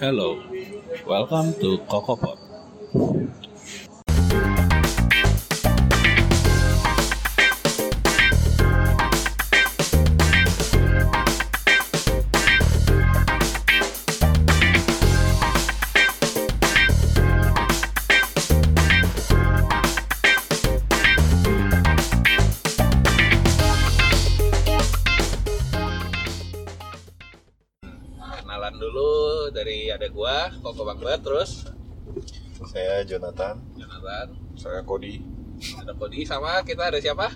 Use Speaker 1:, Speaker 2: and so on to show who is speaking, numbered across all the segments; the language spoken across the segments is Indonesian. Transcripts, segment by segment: Speaker 1: Hello, welcome to Kokopot.
Speaker 2: kenalan dulu dari ada gua Koko Bakbar terus
Speaker 3: Saya Jonathan.
Speaker 2: Jonathan
Speaker 3: Saya Kodi.
Speaker 2: ada Kodi sama kita ada siapa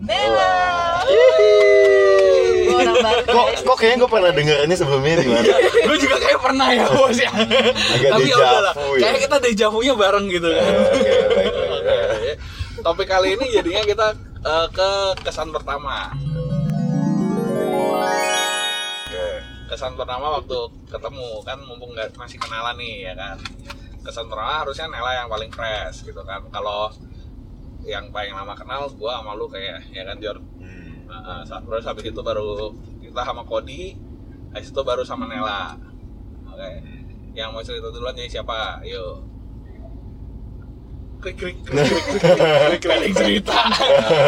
Speaker 4: Bella. Gua orang baru.
Speaker 3: Kok, kok kayaknya gue pernah denger ini sebelumnya di mana?
Speaker 2: gue juga kayak pernah ya bos ya tapi
Speaker 3: Agak
Speaker 2: ya
Speaker 3: deja
Speaker 2: udahlah
Speaker 3: vu ya.
Speaker 2: kayak kita dejavunya bareng gitu
Speaker 3: Eh,
Speaker 2: kan
Speaker 3: Oke, baik, baik, baik.
Speaker 2: Iya. topik kali ini jadinya kita eh, ke kesan pertama
Speaker 3: Oke.
Speaker 2: kesan pertama waktu ketemu kan mumpung nggak masih kenalan nih ya kan kesan pertama harusnya Nela yang paling fresh gitu kan kalau yang paling lama kenal gua sama lu kayak ya kan Jor
Speaker 3: Hmm.
Speaker 2: Nah, saat- terus habis itu baru kita sama Kodi, habis itu baru sama Nela. Oke. Yang mau cerita duluan jadi siapa? Yuk. Krik krik krik krik krik, krik krik krik cerita.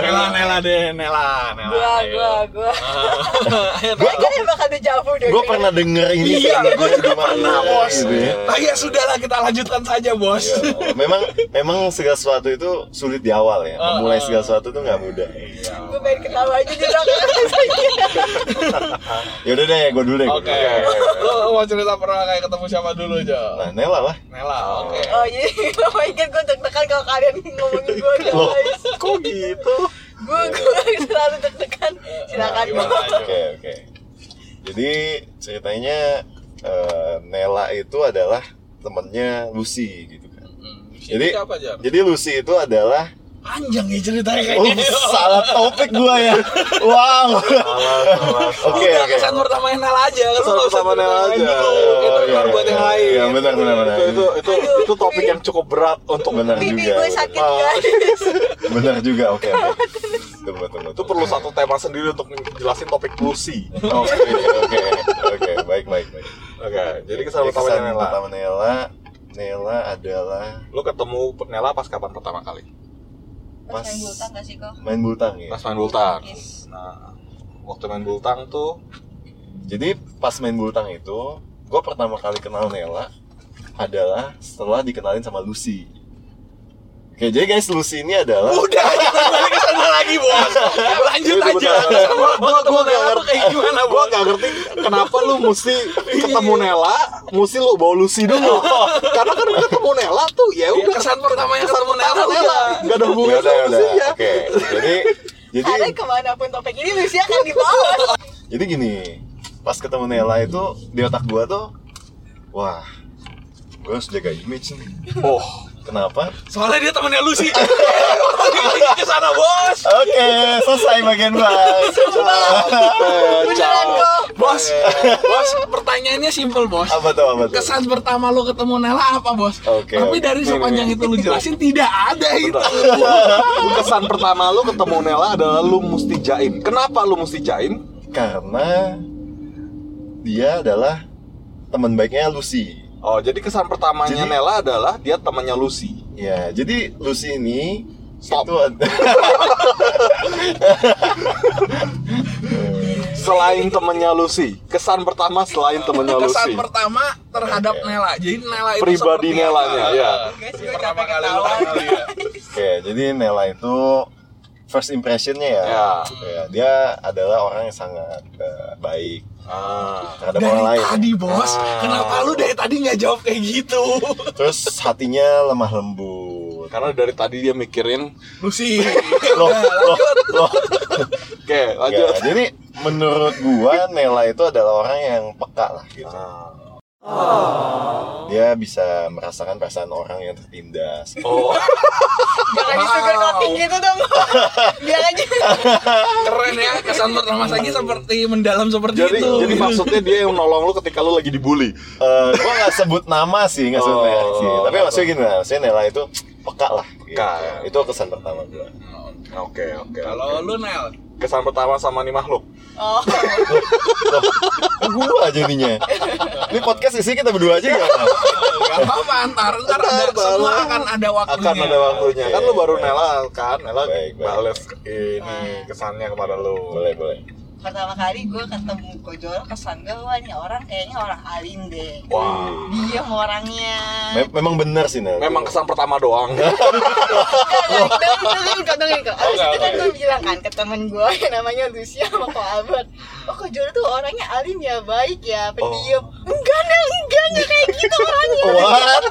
Speaker 2: Nela Nela deh, Nela, Nela.
Speaker 4: Gua,
Speaker 2: ayo.
Speaker 4: gua, gua.
Speaker 2: Ah, ayo,
Speaker 4: Gua
Speaker 2: Nela.
Speaker 4: kira bakal dijawab deh.
Speaker 3: Gue pernah denger ini
Speaker 2: Iya,
Speaker 3: sebelumnya
Speaker 2: gue juga
Speaker 3: di mana,
Speaker 2: pernah,
Speaker 5: Iya,
Speaker 2: bos.
Speaker 3: gitu ya.
Speaker 2: Ah, ya sudahlah kita lanjutkan saja, Bos.
Speaker 3: Iya. Memang memang segala sesuatu itu sulit di awal ya.
Speaker 2: Oh,
Speaker 3: Memulai
Speaker 2: oh.
Speaker 3: segala sesuatu itu nggak mudah.
Speaker 4: Gua pengen ketawa aja di dalam.
Speaker 3: Yaudah Ya deh, gue dulu deh. gua
Speaker 2: Oke.
Speaker 5: Iya,
Speaker 3: dulu.
Speaker 2: Lu mau cerita pernah kayak ketemu siapa dulu, Jo?
Speaker 3: Nah, Nela lah.
Speaker 2: Nela, oke.
Speaker 4: Oh iya, oh my god, gue deg-degan kalau kalian ngomongin gue
Speaker 3: Loh,
Speaker 4: guys
Speaker 3: kok gitu?
Speaker 4: Gue, gue selalu deg-degan
Speaker 3: Nah,
Speaker 4: Silakan
Speaker 2: Gimana,
Speaker 3: iya,
Speaker 4: gua.
Speaker 2: Jo?
Speaker 3: Oke oke. Jadi ceritanya eh, Nela itu adalah temennya Lucy gitu kan.
Speaker 2: Hmm,
Speaker 3: Jadi
Speaker 2: siapa, Jo?
Speaker 3: jadi Lucy itu adalah
Speaker 2: panjang ya ceritanya
Speaker 3: oh
Speaker 2: kayaknya
Speaker 3: salah topik gua ya. Wow. Oke
Speaker 2: Udah,
Speaker 3: oke.
Speaker 2: kesan pertama yang Nela aja kan
Speaker 5: Kesan pertama Nela aja.
Speaker 2: itu
Speaker 3: Oh, iya,
Speaker 2: baru buat
Speaker 3: iya,
Speaker 2: yang
Speaker 3: iya.
Speaker 2: lain
Speaker 3: Iya benar benar benar.
Speaker 5: itu itu itu,
Speaker 4: Aduh.
Speaker 5: itu topik yang cukup berat untuk
Speaker 3: Benar
Speaker 4: Pipi
Speaker 3: juga.
Speaker 4: gue sakit
Speaker 5: Ah.
Speaker 4: guys
Speaker 3: Benar juga. Oke oke. Tunggu tunggu.
Speaker 5: itu perlu satu tema sendiri untuk jelasin topik Lucy.
Speaker 3: Oke oke oke baik baik baik.
Speaker 5: Oke, jadi kesan
Speaker 3: Jadi,
Speaker 5: pertamanya Nela.
Speaker 3: pertama Nela Nela adalah
Speaker 5: Lu ketemu Nela pas kapan pertama kali?
Speaker 4: Pas
Speaker 3: Pas-
Speaker 4: main bultang gak sih kok?
Speaker 3: main bultang ya.
Speaker 5: Pas main bultang.
Speaker 4: Yes.
Speaker 5: Nah, waktu main bultang tuh
Speaker 3: Jadi pas main bultang itu, gue pertama kali kenal Nela adalah setelah dikenalin sama Lucy. Oke, jadi guys, Lucy ini adalah
Speaker 2: udah jangan balik ke sana lagi bos lanjut
Speaker 5: Itu
Speaker 2: aja
Speaker 5: benar.
Speaker 2: sama gua gua Iya,
Speaker 5: gua nggak
Speaker 2: kayak gimana
Speaker 5: gua
Speaker 2: bos
Speaker 5: gak ngerti kenapa lu mesti ketemu Nela, mesti lu bawa Lucy dulu. Karena kan ketemu Nela tuh ya
Speaker 2: Ya,
Speaker 5: udah
Speaker 2: kesan pertama yang ketemu Nela
Speaker 5: Nela,
Speaker 2: udah
Speaker 5: gak ada
Speaker 3: Yaudah,
Speaker 5: hubungannya sama
Speaker 3: yaudah.
Speaker 5: Lucy ya.
Speaker 3: Oke, jadi jadi
Speaker 4: Karena kemanapun topik ini Lucy akan dibawa
Speaker 3: jadi gini, pas ketemu Nela itu di otak gue tuh, wah, gue harus jaga image nih.
Speaker 5: Oh,
Speaker 3: Kenapa?
Speaker 2: soalnya dia temennya Lucy balik lagi ke sana bos
Speaker 3: Oke, selesai bagian gua.
Speaker 4: Beneran kok
Speaker 2: bos bos pertanyaannya simpel bos
Speaker 3: Apa tuh? Apa tuh?
Speaker 2: kesan pertama lo ketemu Nela apa bos
Speaker 3: Oke,
Speaker 2: tapi
Speaker 3: oke.
Speaker 2: dari sepanjang itu lu jelasin tidak ada itu
Speaker 5: kesan pertama lu ketemu Nela adalah lu mesti jaim. Kenapa lu mesti jaim?
Speaker 3: Karena dia adalah teman baiknya Lucy.
Speaker 5: Oh, jadi kesan pertamanya
Speaker 3: Jadi-
Speaker 5: Nela adalah dia temannya Lucy.
Speaker 3: Ya, jadi Lucy ini
Speaker 5: Stop.
Speaker 3: itu ad-
Speaker 5: Selain temannya Lucy, kesan pertama selain temannya
Speaker 2: kesan
Speaker 5: Lucy.
Speaker 2: pertama terhadap Nela jadi Nela iya. itu
Speaker 5: Pribadi
Speaker 2: seperti apa?
Speaker 5: Nelanya, ya.
Speaker 4: Guys, gue
Speaker 2: pertama
Speaker 4: capek
Speaker 2: kali lu
Speaker 4: ketawa
Speaker 2: kenal dia
Speaker 3: Oke, jadi Nela itu first impressionnya ya.
Speaker 5: Ya.
Speaker 3: Ya, dia adalah orang yang sangat eh, baik
Speaker 5: Ah.
Speaker 3: terhadap orang
Speaker 2: dari
Speaker 3: lain.
Speaker 2: tadi bos
Speaker 5: Ah.
Speaker 2: kenapa lu dari tadi nggak jawab kayak gitu
Speaker 3: Terus hatinya lemah lembut.
Speaker 5: Karena dari tadi dia mikirin,
Speaker 2: Lucy Nah,
Speaker 3: Loh, loh, loh.
Speaker 5: oke, lanjut.
Speaker 3: Ya, jadi menurut gua Nela itu adalah orang yang peka lah gitu.
Speaker 5: Ah.
Speaker 3: Dia bisa merasakan perasaan orang yang tertindas.
Speaker 5: Oh,
Speaker 4: Jangan di sugar coating gitu dong Biar aja
Speaker 2: keren ya kesan pertama saja seperti mendalam seperti
Speaker 5: jadi
Speaker 2: itu Gitu.
Speaker 5: jadi maksudnya dia yang nolong lu ketika lu lagi dibully.
Speaker 3: Eh, gua nggak sebut nama sih, nggak sebut
Speaker 5: Oh,
Speaker 3: merek sih. Tapi
Speaker 5: nggak
Speaker 3: maksudnya gini lah, maksudnya Nela itu peka lah. gitu.
Speaker 5: Peka. ya.
Speaker 3: Itu kesan pertama gua.
Speaker 5: Oke, oke.
Speaker 2: kalau lu Nel
Speaker 5: kesan pertama sama nih makhluk
Speaker 6: Oh,
Speaker 3: Gua jadinya. Ini podcast isinya kita berdua aja gak?
Speaker 2: Gak apa-apa, ntar, ntar ada,
Speaker 5: Ntar,
Speaker 2: semua
Speaker 5: Bang.
Speaker 2: akan ada waktunya
Speaker 5: akan ada waktunya
Speaker 3: Oke,
Speaker 5: kan lu baru
Speaker 3: baik.
Speaker 5: Nela kan Nela
Speaker 3: Baik, baik.
Speaker 5: bales ini kesannya kepada lu
Speaker 3: Boleh, boleh.
Speaker 6: pertama kali gue ketemu Kojol kesan gue wah ini orang kayaknya orang alim deh.
Speaker 5: wah
Speaker 6: Diem orangnya.
Speaker 3: Mem- memang benar sih, Nel.
Speaker 5: memang kesan pertama doang
Speaker 6: Dengerin, dengerin kok, dengerin kok. Abis
Speaker 2: Oke,
Speaker 6: itu kan
Speaker 2: oke.
Speaker 6: gue bilang kan ke temen gue yang namanya Lucia sama Ko Albert. Oh Kojol tuh orangnya alim ya, baik ya, pendiam. Enggak, enggak, enggak, enggak kayak gitu orangnya.
Speaker 3: What?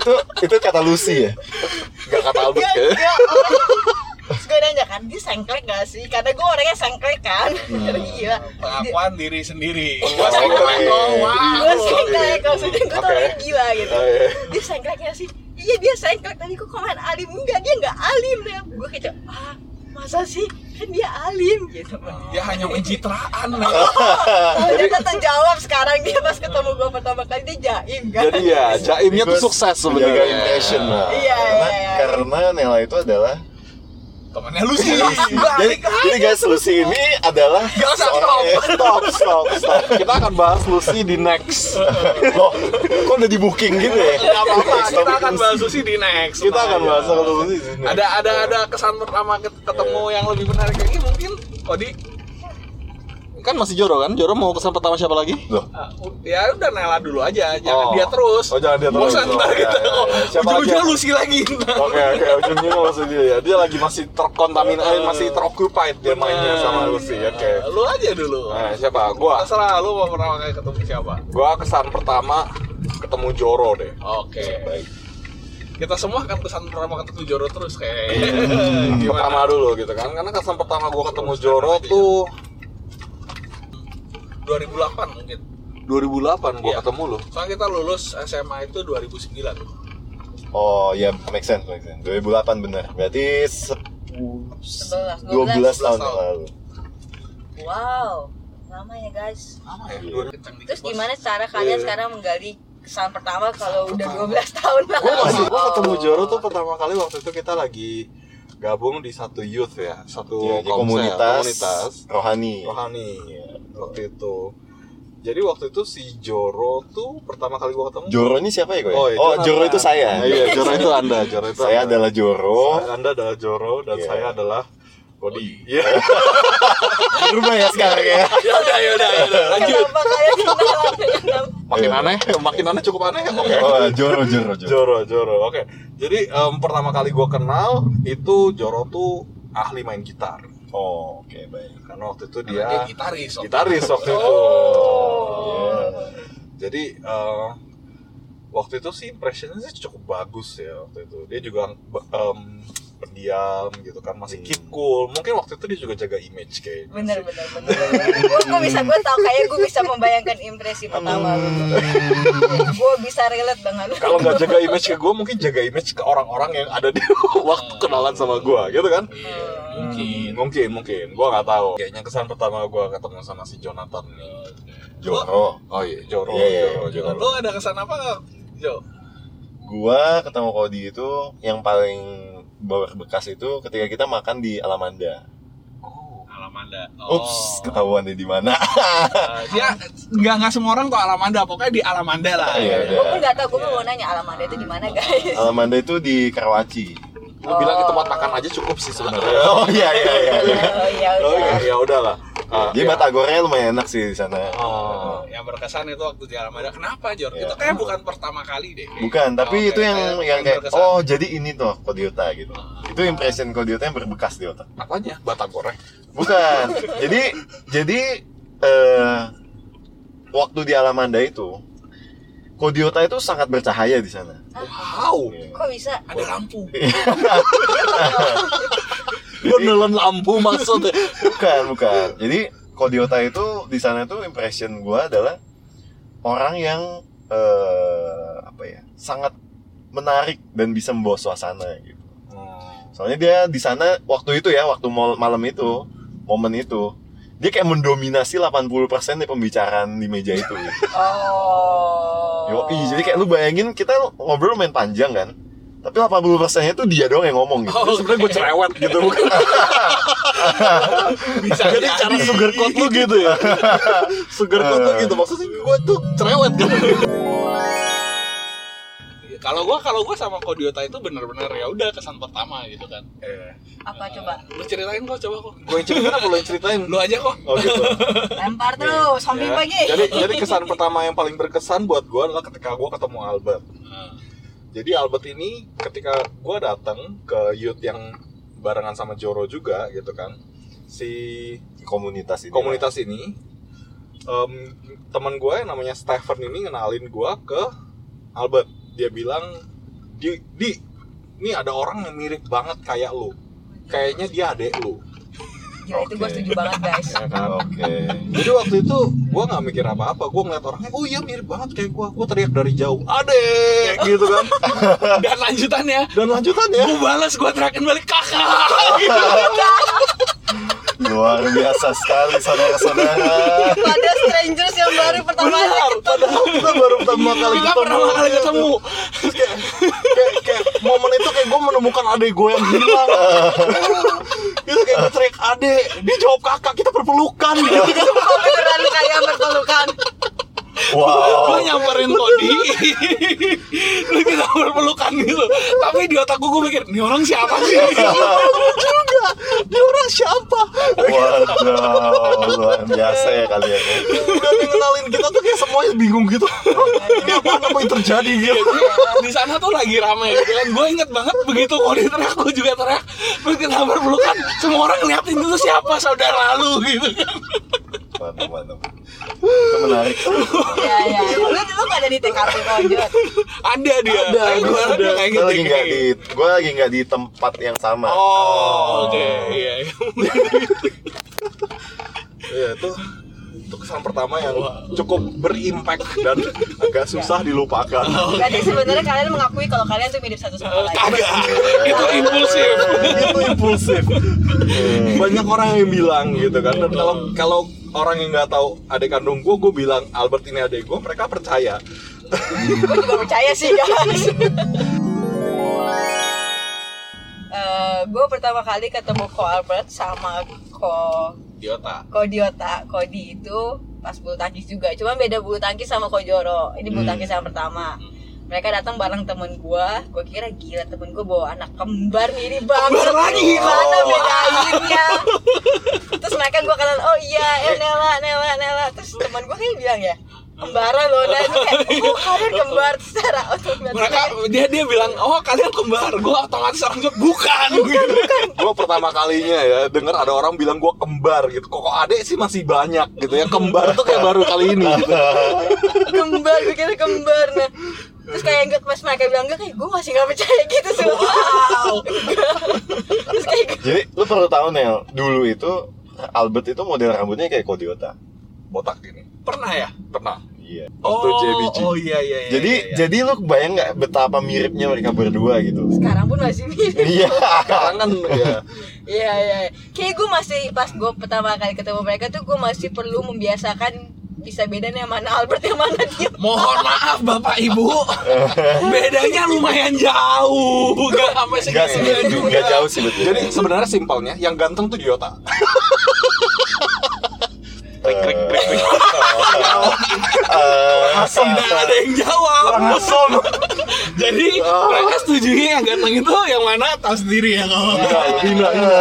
Speaker 3: itu itu kata Lucy ya.
Speaker 5: gak kata Albert
Speaker 6: Enggak,
Speaker 5: ya
Speaker 6: enggak. orang- Terus gue nanya kan, dia sengklek gak sih? Karena gue orangnya sengklek kan. Gila.
Speaker 2: pengakuan diri sendiri
Speaker 5: Wah,
Speaker 2: gua sengklek
Speaker 5: oke.
Speaker 2: dong wah
Speaker 6: Gue sengklek, maksudnya gue tuh
Speaker 5: Oke.
Speaker 6: orangnya gila gitu.
Speaker 5: Oh, iya.
Speaker 6: dia sengkleknya sih iya dia sengklek tapi kok kemarin alim enggak dia enggak alim deh gue kayak ah masa sih kan dia alim gitu
Speaker 2: dia hanya pencitraan lah
Speaker 6: oh, dia terjawab sekarang dia pas ketemu gue pertama kali dia jaim kan
Speaker 5: jadi ya jaimnya tuh sukses
Speaker 3: Menjaga
Speaker 5: sebenarnya
Speaker 3: impression lah.
Speaker 6: Iya,
Speaker 3: karena,
Speaker 6: iya, iya.
Speaker 3: karena Nela itu adalah
Speaker 2: temennya lu sih
Speaker 3: jadi,
Speaker 2: balik
Speaker 3: jadi guys, Lucy ini adalah
Speaker 2: Gak usah,
Speaker 3: seorang-
Speaker 5: stop stop stop kita akan bahas Lucy di next
Speaker 3: Loh, Oh, kok udah di booking gitu ya?
Speaker 2: Gak apa-apa, kita
Speaker 3: Stop
Speaker 2: akan
Speaker 3: Lucy.
Speaker 2: bahas Susi di next
Speaker 5: kita akan
Speaker 2: Nah,
Speaker 5: bahas
Speaker 2: ya.
Speaker 5: Lucy di next
Speaker 2: ada ada ada kesan pertama ket- ketemu
Speaker 5: Iya.
Speaker 2: yang lebih menarik lagi mungkin Kodi
Speaker 5: kan masih Joro kan Joro mau kesan pertama siapa lagi
Speaker 3: Loh,
Speaker 2: eh, u- ya udah Nela dulu aja jangan
Speaker 5: Oh.
Speaker 2: dia terus
Speaker 5: Oh, jangan dia terus.
Speaker 2: bosan ntar
Speaker 5: Oh,
Speaker 2: kita
Speaker 5: iya, iya, iya. Siapa Oh, lagi?
Speaker 2: ujung-ujungnya Lucy lagi ntar.
Speaker 5: Oke oke ujungnya masih dia ya. Dia lagi masih terkontaminasi, masih teroccupied dia mainnya sama Lucy. Oke.
Speaker 2: lu aja dulu
Speaker 5: Nah, siapa? Gua.
Speaker 2: terserah lu mau pertama kali ketemu siapa
Speaker 5: Gua kesan pertama ketemu Joro deh.
Speaker 2: Oke.
Speaker 3: Baik.
Speaker 2: Kita semua akan kesan pertama ketemu Joro terus kayak.
Speaker 3: Iya. Eh,
Speaker 5: Pertama dulu gitu kan. Karena kesan pertama gua ketemu Joro
Speaker 3: Iya.
Speaker 5: tuh
Speaker 2: 2008 mungkin.
Speaker 5: 2008 gua
Speaker 2: Iya.
Speaker 5: ketemu lo.
Speaker 2: Soalnya kita lulus SMA itu
Speaker 3: Iya.
Speaker 2: 2009.
Speaker 3: oh ya make sense, make sense. 2008 benar. Berarti
Speaker 6: 11,
Speaker 3: 10, 12
Speaker 6: 12
Speaker 3: tahun yang
Speaker 2: tahun.
Speaker 3: lalu.
Speaker 6: wow lama ya guys
Speaker 2: Lama
Speaker 3: Iya.
Speaker 2: Kencang dikit,
Speaker 6: terus
Speaker 2: bos.
Speaker 6: gimana cara kalian
Speaker 5: Iya.
Speaker 6: sekarang menggali kesan pertama kalau udah 12 tahun lah
Speaker 5: Gua masih gua ketemu Joro tuh pertama kali waktu itu kita lagi gabung di satu youth ya, satu
Speaker 3: Ya, jadi
Speaker 5: komsel,
Speaker 3: komunitas, Iya.
Speaker 5: komunitas
Speaker 3: rohani.
Speaker 5: rohani waktu itu. Jadi waktu itu si Joro tuh pertama kali gua ketemu
Speaker 3: Joro ini siapa ya kok? ya? Oh,
Speaker 5: Oh, itu Anda.
Speaker 3: Joro itu saya.
Speaker 5: Iya, Joro itu Anda, Joro itu
Speaker 3: Saya
Speaker 5: Anda.
Speaker 3: adalah Joro.
Speaker 5: Saya- Anda adalah Joro dan
Speaker 3: Iya.
Speaker 5: saya adalah Body. Iya.
Speaker 3: Di rumah ya sekarang ya.
Speaker 2: Ya udah ya udah ya udah. Lanjut.
Speaker 6: kenapa kalian kenal
Speaker 5: makin
Speaker 3: Iya.
Speaker 5: aneh, makin aneh cukup aneh. Oke.
Speaker 3: Oh, Joro, Joro, Joro.
Speaker 5: Iya. Joro, Joro. Oke. Jadi em, pertama kali gua kenal itu Joro tuh ahli main gitar.
Speaker 3: Oh, oke baik.
Speaker 5: Karena waktu itu
Speaker 2: Dia, dia
Speaker 5: dia Oh.
Speaker 2: gitaris. Om.
Speaker 5: gitaris waktu itu.
Speaker 3: Iya.
Speaker 5: Jadi eh, waktu itu sih impressionnya sih cukup bagus ya waktu itu. Dia juga em, pendiam gitu kan, masih keep cool. Mungkin waktu itu dia juga jaga image kayak.
Speaker 6: bener bener bener gue gue bisa gue tau kayak gue bisa membayangkan impresi pertama gue bisa relate dengan lu
Speaker 5: Kalau nggak jaga image ke gue, mungkin jaga image ke orang-orang yang ada di waktu kenalan sama gue, gitu kan?
Speaker 2: Iya, Mungkin.
Speaker 5: Mungkin, mungkin. Gue nggak tahu. Kayaknya kesan pertama gue ketemu sama si Jonathan nih.
Speaker 3: Joro.
Speaker 5: Oh iya, Joro,
Speaker 3: Iya, iya,
Speaker 5: Joro,
Speaker 3: iya.
Speaker 5: Joro.
Speaker 2: Lu ada kesan apa nggak, Jo?
Speaker 3: Gua ketemu Kodi itu yang paling berbekas itu ketika kita makan di Alamanda.
Speaker 2: Alamanda.
Speaker 3: Ups, ketahuan deh di mana.
Speaker 2: Eh, dia nggak nggak semua orang tuh Alamanda, pokoknya di Alamanda lah.
Speaker 3: Iya,
Speaker 2: ya.
Speaker 3: iya.
Speaker 6: gue pun gak tau gue mau nanya alamatnya itu di mana guys
Speaker 3: Alamanda itu di Karawaci.
Speaker 5: Lu bilang ke tempat makan aja cukup sih sebenarnya.
Speaker 3: Oh iya iya iya.
Speaker 6: oh iya
Speaker 5: Oh
Speaker 6: udah
Speaker 5: iya, ya udahlah. Ah,
Speaker 3: Jadi
Speaker 5: iya.
Speaker 3: batagornya lumayan enak sih di sana.
Speaker 5: Oh.
Speaker 2: Yang berkesan itu waktu di Alamanda. Kenapa, Jor?
Speaker 3: Iya.
Speaker 2: Itu kayak bukan pertama kali deh.
Speaker 3: Bukan, tapi
Speaker 2: Oke,
Speaker 3: itu yang
Speaker 2: kayak-
Speaker 3: yang kayak
Speaker 2: berkesan.
Speaker 3: oh jadi ini tuh Kodiota gitu. Itu impression Kodiota yang berbekas di otak.
Speaker 5: Apanya? Batagoreng.
Speaker 3: Bukan. jadi jadi eh waktu di Alamanda itu Kodiota itu sangat bercahaya di sana.
Speaker 5: Wow.
Speaker 6: kok bisa
Speaker 2: ada lampu.
Speaker 5: Beneran lampu Oh, maksudnya.
Speaker 3: Bukan, bukan. Jadi Kodiota itu di sana itu impression gua adalah orang yang eh apa ya? sangat menarik dan bisa membawa suasana gitu. Soalnya dia di sana waktu itu ya, waktu mal- malam itu, momen itu, dia kayak mendominasi 80% dari pembicaraan di meja itu. gitu.
Speaker 6: oh
Speaker 3: Yo, jadi kayak lu bayangin kita ngobrol main panjang kan. Tapi 80%-nya itu dia doang yang ngomong gitu.
Speaker 5: Itu sebenarnya gue cerewet gitu bukan
Speaker 2: bisa
Speaker 5: jadi cara sugar coat lu gitu ya sugar coat lu gitu maksudnya gue tuh cerewet gitu
Speaker 2: Ya, kalau gua kalau gua sama Kodiota itu benar-benar ya udah kesan pertama gitu kan
Speaker 6: Apa coba?
Speaker 2: lu ceritain kok coba kok
Speaker 5: gue yang ceritain apa lo yang ceritain
Speaker 2: lu aja kok
Speaker 5: oh gitu
Speaker 6: Lempar terus, sampai
Speaker 5: Ya.
Speaker 6: pagi.
Speaker 5: Jadi jadi kesan pertama yang paling berkesan buat gue adalah ketika gue ketemu Albert. Jadi Albert ini ketika gue datang ke youth yang barengan sama Joro juga gitu kan, si
Speaker 3: Komunitas ini.
Speaker 5: komunitas ini em, teman gue yang namanya Stephen ini ngenalin gue ke Albert. Dia bilang di di ini ada orang yang mirip banget kayak lu. Kayaknya dia adek lu.
Speaker 6: Gila, itu gue setuju banget guys.
Speaker 5: Ya kan?
Speaker 3: Oke.
Speaker 5: Jadi waktu itu gue nggak mikir apa-apa, gue ngeliat orangnya, oh iya mirip banget kayak gue, gue teriak dari jauh, adek gitu kan.
Speaker 2: dan lanjutannya
Speaker 5: Dan ya. lanjutannya,
Speaker 2: ya. gua balas gua terakin balik kakak
Speaker 3: Luar biasa sekali saudara-saudara.
Speaker 4: Pada strangers yang baru pertama kali
Speaker 5: benar, padahal kita baru pertama kali
Speaker 2: kita pertama kali ketemu
Speaker 5: Terus kayak, kayak, kayak momen itu kayak gue menemukan adek gue yang hilang. itu kayak gue teriak adek, dia jawab kakak, kita berpelukan gitu kan.
Speaker 4: beneran kayak berpelukan
Speaker 2: gua
Speaker 3: Wow.
Speaker 2: nyamperin Kodi lu kita berpelukan gitu tapi di otak gua gua mikir ini orang siapa sih
Speaker 5: juga, dia orang siapa?
Speaker 3: Waduh, luar biasa ya kalian. ya.
Speaker 5: Udah ngenalin kita tuh kayak semuanya bingung gitu. Ini apa, apa yang terjadi gitu.
Speaker 2: di sana tuh lagi ramai gitu kan gue inget banget begitu Kodi teriak gua juga teriak terus kita berpelukan semua orang ngeliatin itu siapa saudara lu gitu kan
Speaker 3: Mantap, mantap. Itu menarik.
Speaker 6: Iya, iya. Lu, lu gak ada di TKP kok, Jod.
Speaker 2: ada dia
Speaker 5: Ada,
Speaker 2: tapi gua
Speaker 5: ada.
Speaker 2: harapnya kayak
Speaker 3: Gue
Speaker 2: gitu
Speaker 3: lagi nggak di, gue lagi nggak di tempat yang sama.
Speaker 2: oh oke iya iya.
Speaker 5: Iya itu itu kesan pertama yang cukup berimpact dan agak susah dilupakan.
Speaker 6: Berarti sebenarnya kalian mengakui kalau kalian tuh mirip satu sama lain.
Speaker 2: kagak itu impulsif
Speaker 5: itu impulsif. Banyak orang yang bilang gitu kan. Dan kalau kalau orang yang nggak tahu adik kandung gue, gue bilang Albert ini adik gue, mereka percaya.
Speaker 6: Gue juga percaya sih guys. Eh, gue pertama kali ketemu Ko Albert sama Ko
Speaker 5: Iya,
Speaker 2: Idiota.
Speaker 6: Ko Diota, Kodi itu pas bulu tangkis juga. Cuma beda bulu tangkis sama Ko Joro. Ini bulu tangkis yang pertama. Mereka datang bareng temen gua, gua kira gila temen gua bawa anak kembar nih ini banget lagi Oh. Mana bedainnya Terus mereka gua kenal, oh iya, eh, Nela, Nela, Nela Terus temen gua kayak bilang ya, kembara loh, nah itu kayak, oh kalian kembar secara otomatis
Speaker 2: mereka dia dia bilang oh kalian kembar gue otomatis orang jawab bukan gitu.
Speaker 5: Gue pertama kalinya ya dengar ada orang bilang gue kembar gitu. Kok kok adek sih masih banyak gitu ya. Kembar tuh kayak baru kali ini. Gitu.
Speaker 6: kembar gue kira kembar nah terus kayak enggak pas mereka bilang enggak kayak gue masih nggak percaya gitu sih wow terus kayak gua-
Speaker 3: Jadi lu perlu tahu Nel, dulu itu Albert itu model rambutnya kayak Kodiota.
Speaker 5: Botak ini
Speaker 2: pernah ya
Speaker 5: pernah.
Speaker 3: Iya.
Speaker 5: Waktu JBG.
Speaker 2: oh iya iya, iya
Speaker 3: Jadi
Speaker 2: iya, iya.
Speaker 3: jadi lu kebayang nggak betapa miripnya mereka berdua gitu?
Speaker 6: sekarang pun masih mirip
Speaker 3: Iya.
Speaker 5: Sekarang kan ya
Speaker 6: iya iya kayak gue masih pas gue pertama kali ketemu mereka tuh gue masih perlu membiasakan bisa bedanya yang mana Albert yang mana dia
Speaker 2: mohon maaf bapak ibu bedanya lumayan jauh gak sampai
Speaker 3: Gak sih,
Speaker 2: segini juga.
Speaker 3: gak jauh sih betul.
Speaker 5: Jadi sebenarnya simpelnya yang ganteng tuh Diota.
Speaker 3: krik krik krik.
Speaker 2: tidak ada yang jawab jadi mereka setuju yang ganteng itu yang mana tahu sendiri ya kalau
Speaker 5: Hina, hina,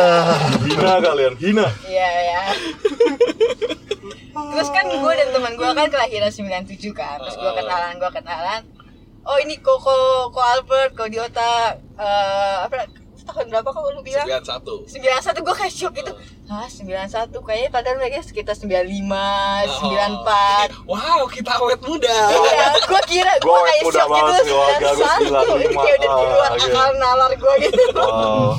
Speaker 5: hina kalian, hina.
Speaker 6: iya iya terus kan gue dan teman gue kan kelahiran 97 kan terus gue kenalan gue kenalan oh ini koko ko Albert ko Diota eh apa tahun berapa kok ya? lu bilang
Speaker 2: sembilan satu
Speaker 6: 91 gue kayak shock gitu Hah 91 Kayaknya padahal mereka sekitar 95, 94
Speaker 2: Oh, wow kita awet muda
Speaker 6: Iya, gue kira gue
Speaker 5: Gua
Speaker 6: kayak
Speaker 5: muda
Speaker 6: shock gitu
Speaker 5: banget sih, warga gua
Speaker 6: 91 Ini kayak udah di luar
Speaker 5: 95, ah,
Speaker 6: akal nalar gue gitu
Speaker 5: Wow.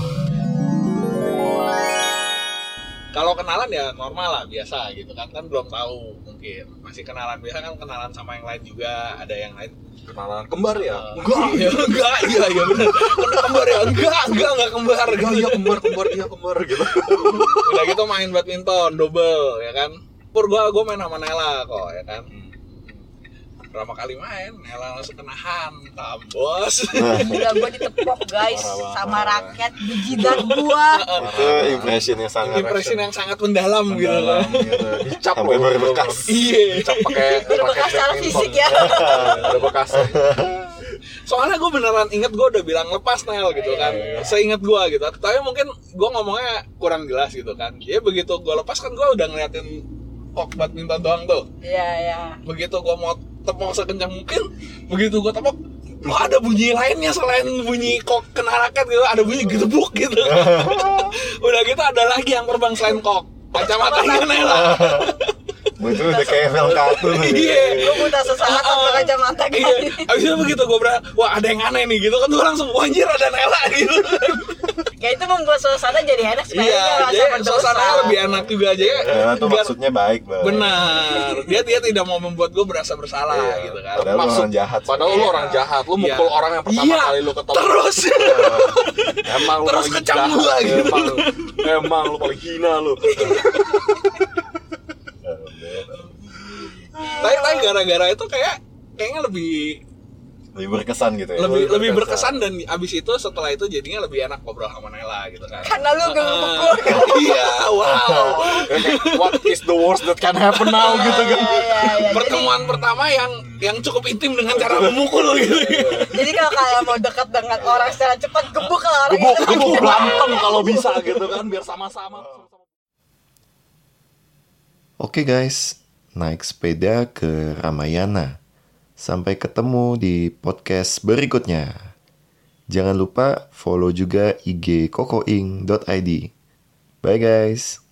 Speaker 2: kalau kenalan ya normal lah biasa gitu kan kan belum tahu mungkin masih kenalan biasa kan kenalan sama yang lain juga ada yang lain
Speaker 5: Kenalan kembar ya?
Speaker 2: enggak ya enggak iya iya benar Kena kembar ya enggak enggak enggak kembar
Speaker 5: Enggak, iya kembar, kembar, iya kembar gitu.
Speaker 2: udah gitu main
Speaker 5: Hmm.
Speaker 2: badminton double ya kan pur gua gua main sama Nela kok ya kan berapa kali main Nela langsung kena hantam bos
Speaker 3: Nah,
Speaker 6: Udah gue ditepok guys
Speaker 5: Parah,
Speaker 6: sama
Speaker 5: parah.
Speaker 6: rakyat jidat gua.
Speaker 3: itu impression yang sangat
Speaker 2: impression yang sangat mendalam, gitu loh
Speaker 5: Dalam, gitu. Dicap
Speaker 3: Sampai
Speaker 5: loh.
Speaker 3: berbekas.
Speaker 2: iya
Speaker 5: Dicap pakai
Speaker 6: Berbekas
Speaker 5: pakai
Speaker 6: secara
Speaker 5: badminton.
Speaker 6: fisik ya.
Speaker 5: Ada bekasnya.
Speaker 2: soalnya gue beneran inget gue udah bilang lepas Nel gitu kan seinget gue gitu tapi mungkin gue ngomongnya kurang jelas gitu kan ya begitu gue lepas kan gue udah ngeliatin kok badminton doang tuh
Speaker 6: Iya ya.
Speaker 2: begitu gue mau tepok sekencang mungkin begitu gue tepok lo ada bunyi lainnya selain bunyi kok kena raket gitu ada bunyi gedebuk gitu udah gitu ada lagi yang terbang selain kok kacamata kena lah
Speaker 3: itu udah kayak film kartun
Speaker 2: Iya.
Speaker 6: Gue buta sesaat tanpa kacamata kan.
Speaker 2: iya abis itu begitu gue berang wah ada yang aneh nih gitu kan gue langsung wah anjir ada Nela gitu
Speaker 6: Ya itu membuat suasana jadi enak supaya dia
Speaker 2: iya
Speaker 6: merasa
Speaker 2: jadi
Speaker 6: berdosa.
Speaker 2: suasananya lebih enak juga aja
Speaker 5: Iya,
Speaker 2: ya
Speaker 3: Nah, itu maksudnya baik banget
Speaker 2: benar dia dia tidak mau membuat gue berasa bersalah
Speaker 5: Iya.
Speaker 2: gitu kan
Speaker 3: padahal lu
Speaker 5: Maksud-
Speaker 3: orang jahat
Speaker 5: Padahal lu
Speaker 2: Iya.
Speaker 5: orang jahat, lu mukul
Speaker 2: Iya.
Speaker 5: orang yang pertama
Speaker 2: Iya.
Speaker 5: kali lu ketemu. Iya.
Speaker 2: terus
Speaker 5: Emang lu
Speaker 2: Terus
Speaker 5: paling
Speaker 2: kecam
Speaker 5: jahat,
Speaker 2: gua, gitu.
Speaker 5: Emang, emang lu paling hina lu.
Speaker 2: tapi tapi gara-gara itu kayak kayaknya lebih
Speaker 3: lebih berkesan gitu ya
Speaker 2: lebih lebih
Speaker 5: lebih berkesan.
Speaker 2: berkesan dan abis itu setelah itu jadinya lebih enak ngobrol sama Nela gitu kan
Speaker 6: Karena lu gak
Speaker 2: Heeh.
Speaker 6: pukul.
Speaker 2: iya wow
Speaker 5: Ya kayak, What is the worst that can happen now gitu
Speaker 6: Iya,
Speaker 5: kan?
Speaker 6: iya, iya. Jadi,
Speaker 2: pertemuan pertama yang yang cukup intim dengan cara memukul gitu
Speaker 6: jadi kalau kalian mau dekat dengan orang secara cepat gebuk lah orang
Speaker 5: Gebuk,
Speaker 6: itu.
Speaker 5: gebuk, berantem kalau bisa gitu kan, biar sama-sama.
Speaker 3: Oke guys, naik sepeda ke Ramayana. Sampai ketemu di podcast berikutnya. Jangan lupa follow juga IG kokoing.id. Bye guys.